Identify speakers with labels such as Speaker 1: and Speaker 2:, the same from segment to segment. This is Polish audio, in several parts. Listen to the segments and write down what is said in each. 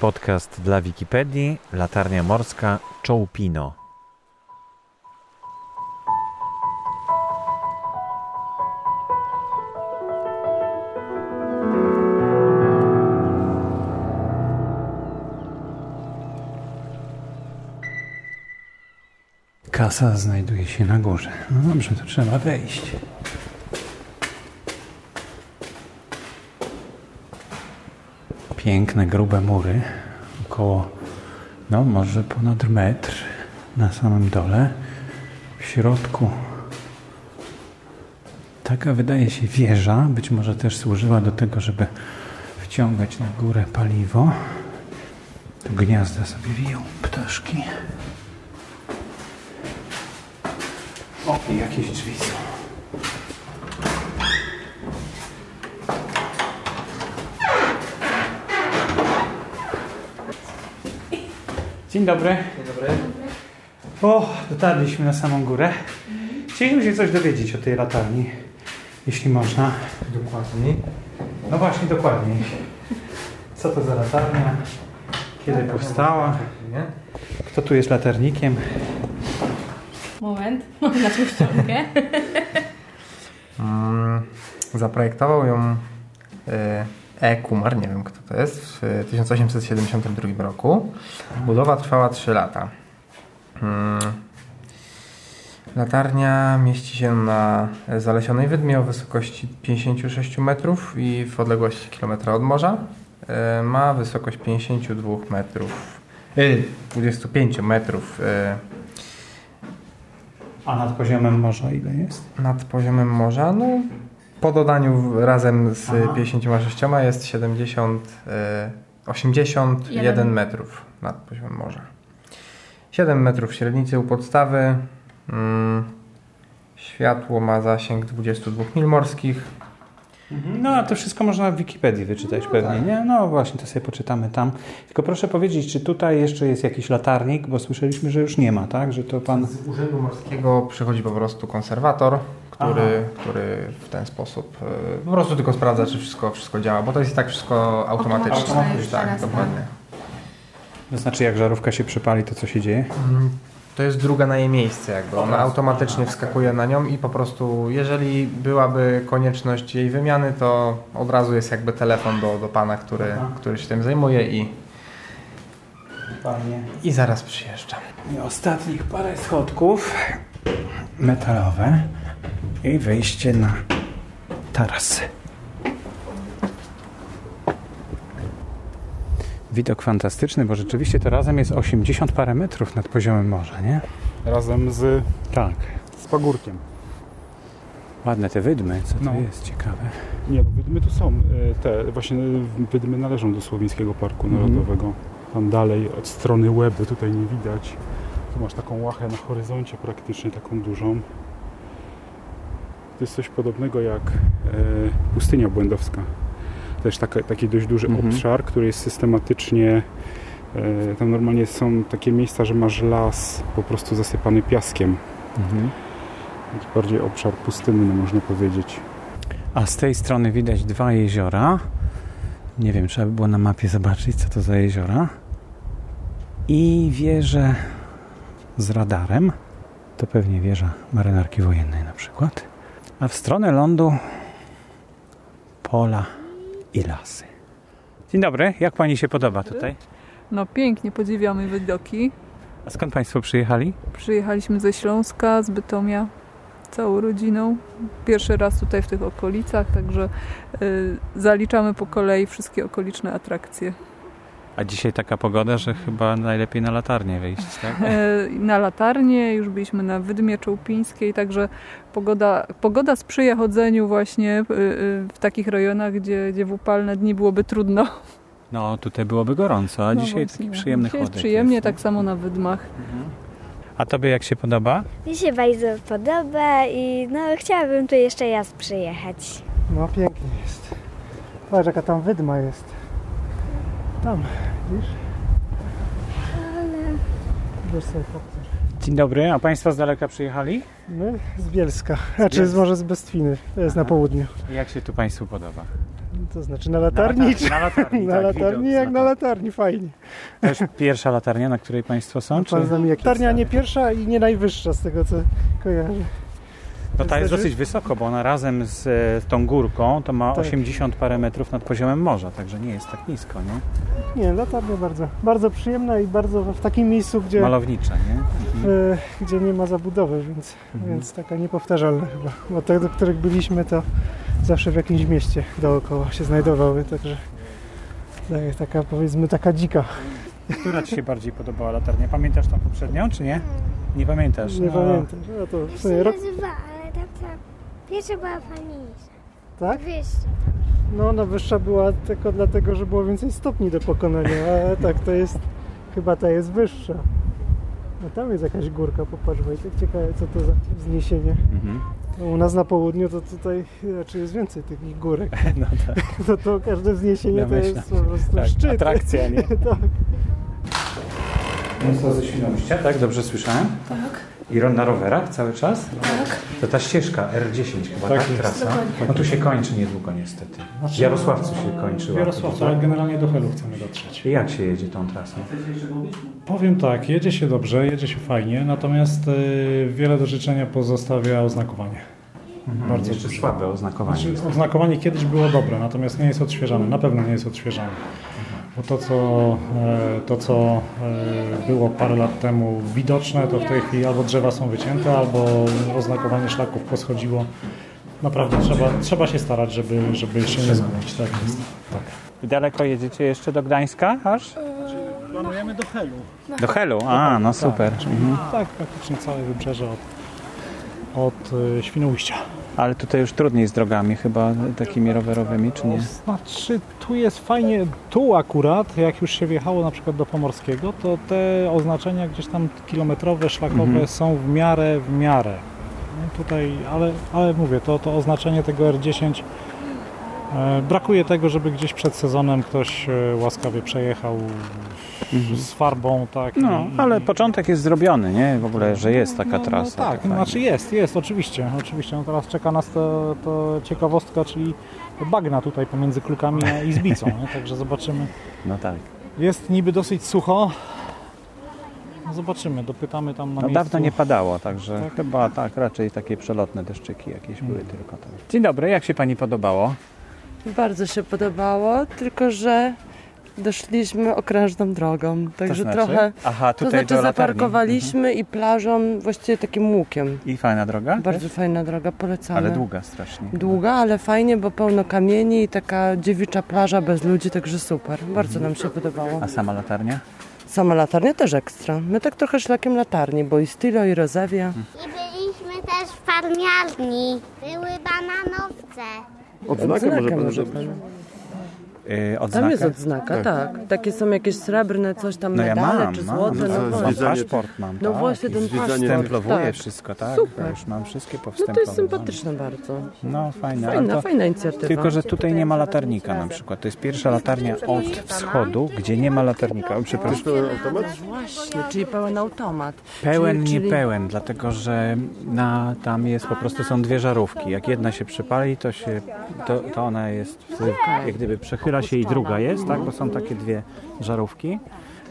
Speaker 1: Podcast dla Wikipedii, Latarnia Morska, Czołpino.
Speaker 2: Kasa znajduje się na górze. No dobrze, to trzeba wejść. Piękne, grube mury, około, no może ponad metr na samym dole. W środku taka wydaje się wieża, być może też służyła do tego, żeby wciągać na górę paliwo. Tu gniazda sobie wiją ptaszki. O, i jakieś drzwi są. Dzień dobry. Dzień dobry. O, dotarliśmy na samą górę. Chcieliśmy się coś dowiedzieć o tej latarni, jeśli można.
Speaker 3: Dokładnie.
Speaker 2: No właśnie, dokładniej. Co to za latarnia? Kiedy powstała?
Speaker 3: Nie?
Speaker 2: Kto tu jest latarnikiem?
Speaker 4: Moment, mam naszą ściągę.
Speaker 3: Mm, Zaprojektował ją e, E. Kumar, nie wiem kto to jest, w e, 1872 roku. Budowa trwała 3 lata. Mm, Latarnia mieści się na zalesionej wydmie o wysokości 56 metrów i w odległości kilometra od morza. E, Ma wysokość 52 metrów, e, 25 metrów e,
Speaker 2: A nad poziomem morza ile jest?
Speaker 3: nad poziomem morza, no po dodaniu w- razem z
Speaker 2: Aha.
Speaker 3: 56 jest 70, y, 81
Speaker 4: Jeden.
Speaker 3: metrów nad poziomem morza. 7 metrów średnicy u podstawy. Mm, światło ma zasięg 22 mil morskich.
Speaker 2: Mhm, No, a to wszystko można w Wikipedii wyczytać pewnie, nie? No właśnie, to sobie poczytamy tam. Tylko proszę powiedzieć, czy tutaj jeszcze jest jakiś latarnik, bo słyszeliśmy, że już nie ma, tak? Że to pan...
Speaker 3: Z Urzędu Morskiego przychodzi po prostu konserwator, który, który w ten sposób y, po prostu tylko sprawdza, czy wszystko, wszystko działa, bo to jest i tak wszystko automatyczne.
Speaker 4: Automatyczne już
Speaker 3: tak,
Speaker 4: teraz, tak.
Speaker 3: dokładnie.
Speaker 2: To znaczy, jak żarówka się przypali, to co się dzieje?
Speaker 3: Mm, To jest druga na jej miejsce, jakby. Ona automatycznie wskakuje na nią i po prostu, jeżeli byłaby konieczność jej wymiany, to od razu jest jakby telefon do, do pana, który,
Speaker 2: Aha.
Speaker 3: który się tym zajmuje i,
Speaker 2: Panie.
Speaker 3: i zaraz przyjeżdża.
Speaker 2: I ostatnich parę schodków metalowe i wejście na taras. Widok fantastyczny, bo rzeczywiście to razem jest 80 parę metrów nad poziomem morza, nie?
Speaker 5: Razem z,
Speaker 2: Tak.
Speaker 5: z pagórkiem.
Speaker 2: Ładne te wydmy, co to
Speaker 5: No.
Speaker 2: jest ciekawe.
Speaker 5: Nie, no wydmy tu są. e, Te, właśnie e, wydmy należą do Słowińskiego Parku
Speaker 2: Mhm.
Speaker 5: Narodowego. Tam dalej od strony Łeby, tutaj nie widać. Tu masz taką łachę na horyzoncie praktycznie, taką dużą. To jest coś podobnego jak e, pustynia błędowska. Też taka, taki dość duży
Speaker 2: Mhm.
Speaker 5: obszar, który jest systematycznie... E, tam normalnie są takie miejsca, że masz las po prostu zasypany piaskiem. Mhm. Taki Bardziej obszar pustynny można powiedzieć.
Speaker 2: A z tej strony widać dwa jeziora. Nie wiem, trzeba by było na mapie zobaczyć, co to za jeziora. I wieżę z radarem. To pewnie wieża marynarki wojennej na przykład. A w stronę lądu pola i lasy. Dzień dobry, jak pani się podoba tutaj?
Speaker 6: No pięknie, podziwiamy widoki.
Speaker 2: A skąd państwo przyjechali?
Speaker 6: Przyjechaliśmy ze Śląska, z Bytomia, całą rodziną. Pierwszy raz tutaj w tych okolicach, także y, zaliczamy po kolei wszystkie okoliczne atrakcje.
Speaker 2: A dzisiaj taka pogoda, że chyba najlepiej na latarnię wyjść, tak?
Speaker 6: E, na latarnie, już byliśmy na Wydmie Czołpińskiej, także pogoda, pogoda sprzyja chodzeniu właśnie y, y, w takich rejonach, gdzie, gdzie w upalne dni byłoby trudno.
Speaker 2: No, tutaj byłoby gorąco, a
Speaker 6: No
Speaker 2: dzisiaj
Speaker 6: właśnie.
Speaker 2: taki przyjemny
Speaker 6: Dzisiaj jest
Speaker 2: chłodek
Speaker 6: przyjemnie,
Speaker 2: jest, nie?
Speaker 6: tak samo na Wydmach.
Speaker 2: A tobie jak się podoba?
Speaker 7: Mi się bardzo podoba i no chciałabym tu jeszcze raz przyjechać.
Speaker 8: No pięknie jest. Patrz jaka tam wydma jest. Tam, widzisz? Ale... Wiesz sobie popatrz.
Speaker 2: Dzień dobry, a Państwo z daleka przyjechali?
Speaker 8: My z Bielska, znaczy z
Speaker 2: Bielska.
Speaker 8: może z Bestwiny, to jest na
Speaker 2: Aha.
Speaker 8: południu.
Speaker 2: Jak się tu Państwu podoba?
Speaker 8: To znaczy na latarni. czy-
Speaker 2: Na latarni,
Speaker 8: Na
Speaker 2: tak,
Speaker 8: latarni
Speaker 2: widok z
Speaker 8: jak na latarni, fajnie.
Speaker 2: To jest pierwsza latarnia, na której Państwo są? Czy...
Speaker 8: No Pan z nami jak tarnia nie pierwsza i nie najwyższa z tego co kojarzę.
Speaker 2: No ta jest
Speaker 8: Znaczy-
Speaker 2: dosyć wysoko, bo ona razem z e, tą górką to ma
Speaker 8: Tak.
Speaker 2: 80 parę metrów nad poziomem morza, także nie jest tak nisko, nie?
Speaker 8: Nie, latarnia bardzo, bardzo przyjemna i bardzo w takim miejscu, gdzie,
Speaker 2: Malownicze, nie?
Speaker 8: e, gdzie nie ma zabudowy, więc, więc taka niepowtarzalna chyba. Bo te, do których byliśmy, to zawsze w jakimś mieście dookoła się znajdowały, także tak- taka powiedzmy taka dzika.
Speaker 2: Która Ci się bardziej podobała latarnia? Pamiętasz tą poprzednią, czy nie? Nie pamiętasz.
Speaker 8: Nie
Speaker 2: no.
Speaker 8: pamiętam. No to w
Speaker 7: Jak
Speaker 8: sumie
Speaker 7: się
Speaker 8: rok,
Speaker 7: nazywa, ale tam ta pierwsza była fajniejsza.
Speaker 8: tak?
Speaker 7: Wyższa.
Speaker 8: No ona wyższa była tylko dlatego, że było więcej stopni do pokonania, a tak to jest, chyba ta jest wyższa. No tam jest jakaś górka, popatrz Wojtek, ciekawe co to za wzniesienie.
Speaker 2: Mhm.
Speaker 8: No, u nas na południu to tutaj raczej jest więcej tych górek.
Speaker 2: No tak,
Speaker 8: No to każde wzniesienie to
Speaker 2: Domyślam
Speaker 8: jest po prostu
Speaker 2: tak.
Speaker 8: szczyt.
Speaker 2: Atrakcja, nie?
Speaker 8: Tak.
Speaker 2: Państwo ze Świnoujścia, tak? Dobrze słyszałem? Tak. I ro- na rowerach cały czas? Tak. To ta ścieżka R10 chyba, tak?
Speaker 5: Tak
Speaker 2: tak
Speaker 5: jest.
Speaker 2: trasa? No tu się kończy niedługo niestety. W Jarosławcu się kończyła.
Speaker 5: ale generalnie do Helu chcemy dotrzeć.
Speaker 2: I Jak się jedzie tą trasą?
Speaker 5: Powiem tak, jedzie się dobrze, jedzie się fajnie, natomiast y, wiele do życzenia pozostawia oznakowanie. Bardzo
Speaker 2: Jeszcze
Speaker 5: dużo.
Speaker 2: słabe oznakowanie.
Speaker 5: Znaczy, oznakowanie kiedyś było dobre, natomiast nie jest odświeżane, na pewno nie jest odświeżane. Bo to, co, e, to, co e, było parę lat temu widoczne, to w tej chwili albo drzewa są wycięte, albo oznakowanie szlaków poschodziło. Naprawdę trzeba, trzeba się starać, żeby, żeby się nie zgubić. Tak jest. Tak.
Speaker 2: Daleko jedziecie jeszcze do Gdańska aż?
Speaker 8: Planujemy do Helu.
Speaker 2: Do Helu,
Speaker 8: Tak,
Speaker 2: a no super. Mhm.
Speaker 5: Tak, praktycznie całe wybrzeże od, od y, Świnoujścia.
Speaker 2: Ale tutaj już trudniej z drogami chyba takimi rowerowymi, czy nie?
Speaker 5: Znaczy, tu jest fajnie, tu akurat, jak już się wjechało na przykład do Pomorskiego, to te oznaczenia gdzieś tam kilometrowe, szlakowe
Speaker 2: Mhm.
Speaker 5: są w miarę, w miarę. No tutaj, ale, ale mówię, to, to oznaczenie tego R10, e, brakuje tego, żeby gdzieś przed sezonem ktoś e, łaskawie przejechał
Speaker 2: Mhm.
Speaker 5: z farbą, tak.
Speaker 2: No,
Speaker 5: i-
Speaker 2: ale
Speaker 5: i-
Speaker 2: początek jest zrobiony, nie? W ogóle, że jest
Speaker 5: no,
Speaker 2: taka
Speaker 5: no
Speaker 2: trasa.
Speaker 5: tak,
Speaker 2: to
Speaker 5: znaczy jest, jest, oczywiście. oczywiście. No teraz czeka nas to, to ciekawostka, czyli bagna tutaj pomiędzy klukami a izbicą, nie? także zobaczymy.
Speaker 2: fajnie. No tak.
Speaker 5: Jest niby dosyć sucho. No Zobaczymy, dopytamy tam na
Speaker 2: No
Speaker 5: miejscu.
Speaker 2: dawno nie padało, także
Speaker 5: Tak.
Speaker 2: chyba tak, raczej takie przelotne deszczyki jakieś były
Speaker 8: Hmm.
Speaker 2: tylko tam. Dzień dobry, jak się Pani podobało?
Speaker 4: Bardzo się podobało, tylko że doszliśmy okrężną drogą, także
Speaker 2: to znaczy?
Speaker 4: trochę.
Speaker 2: Aha,
Speaker 4: To
Speaker 2: tutaj do
Speaker 4: znaczy
Speaker 2: latarni.
Speaker 4: zaparkowaliśmy i plażą właściwie takim łukiem.
Speaker 2: Mhm. I fajna droga?
Speaker 4: Bardzo fajna droga, polecamy.
Speaker 2: Ale długa strasznie.
Speaker 4: Długa, ale fajnie, bo pełno kamieni i taka dziewicza plaża bez ludzi, także super. Bardzo nam się podobało.
Speaker 2: A sama latarnia?
Speaker 4: Sama latarnia też ekstra. My tak trochę szlakiem latarni, bo i Stilo, i Rozewia.
Speaker 9: I byliśmy też w farmiarni. Były bananowce.
Speaker 4: Odznaka może pan
Speaker 2: Yy,
Speaker 4: Tam jest
Speaker 2: odznaka?
Speaker 4: odznaka, tak. Takie są jakieś srebrne, coś tam,
Speaker 2: No ja
Speaker 4: medale
Speaker 2: mam,
Speaker 4: czy
Speaker 2: mam.
Speaker 4: złote.
Speaker 2: No,
Speaker 4: No,
Speaker 2: mam
Speaker 4: właśnie.
Speaker 2: paszport mam,
Speaker 4: No
Speaker 2: tak.
Speaker 4: właśnie ten paszport.
Speaker 2: Wstęplowuję
Speaker 4: Tak.
Speaker 2: wszystko, tak?
Speaker 4: Super.
Speaker 2: Już mam wszystkie
Speaker 4: No to
Speaker 2: powstęplowane.
Speaker 4: jest sympatyczne bardzo.
Speaker 2: No fajne, ale
Speaker 4: Fajna,
Speaker 2: to...
Speaker 4: fajna inicjatywa.
Speaker 2: Tylko, że tutaj nie ma latarnika na przykład. To jest pierwsza latarnia od wschodu, gdzie nie ma latarnika. O, przepraszam.
Speaker 4: Właśnie, czyli pełen automat.
Speaker 2: Pełen,
Speaker 4: czyli, czyli...
Speaker 2: niepełen, dlatego że na, tam jest po prostu są dwie żarówki. Jak jedna się przypali, to, się, to, to ona jest, jak gdyby przechyla się i druga jest, tak? Bo są takie dwie żarówki.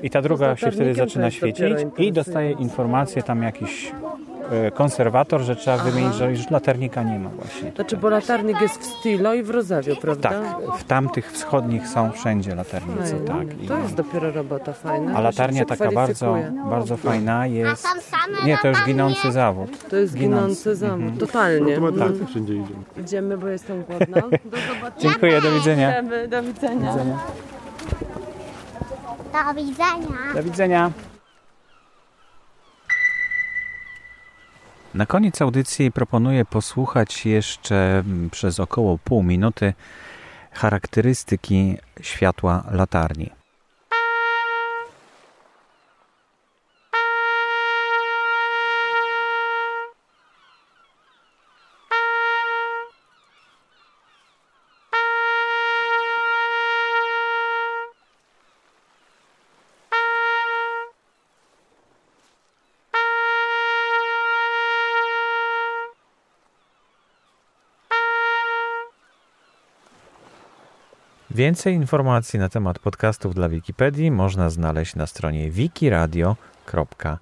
Speaker 2: I ta druga się wtedy
Speaker 4: latarnikiem to
Speaker 2: zaczyna
Speaker 4: jest dopiero
Speaker 2: świecić i
Speaker 4: intensywne.
Speaker 2: dostaje informację tam jakiś e, konserwator, że trzeba wymienić, że już latarnika nie ma właśnie.
Speaker 4: Znaczy, bo latarnik jest w Stilo i w Rozawiu, prawda?
Speaker 2: Tak, w tamtych wschodnich są wszędzie latarnice,
Speaker 4: Fajne.
Speaker 2: tak. I,
Speaker 4: To jest dopiero robota fajna.
Speaker 2: a
Speaker 4: To
Speaker 2: latarnia
Speaker 4: się
Speaker 2: taka bardzo,
Speaker 4: kwalifikuje.
Speaker 2: bardzo fajna
Speaker 9: A
Speaker 2: jest.
Speaker 9: są same
Speaker 2: Nie, to już
Speaker 9: latarnie.
Speaker 2: ginący zawód.
Speaker 4: To jest ginący zamód, totalnie. No,
Speaker 5: Tak.
Speaker 10: wszędzie idziemy.
Speaker 4: idziemy, bo jestem głodna. Do zobaczenia.
Speaker 2: Dziękuję, do widzenia.
Speaker 4: Idziemy, Do widzenia.
Speaker 9: Do widzenia.
Speaker 2: Do widzenia. Na koniec audycji proponuję posłuchać jeszcze mm, przez około pół minuty charakterystyki światła latarni.
Speaker 1: Więcej informacji na temat podcastów dla Wikipedii można znaleźć na stronie wikiradio.org.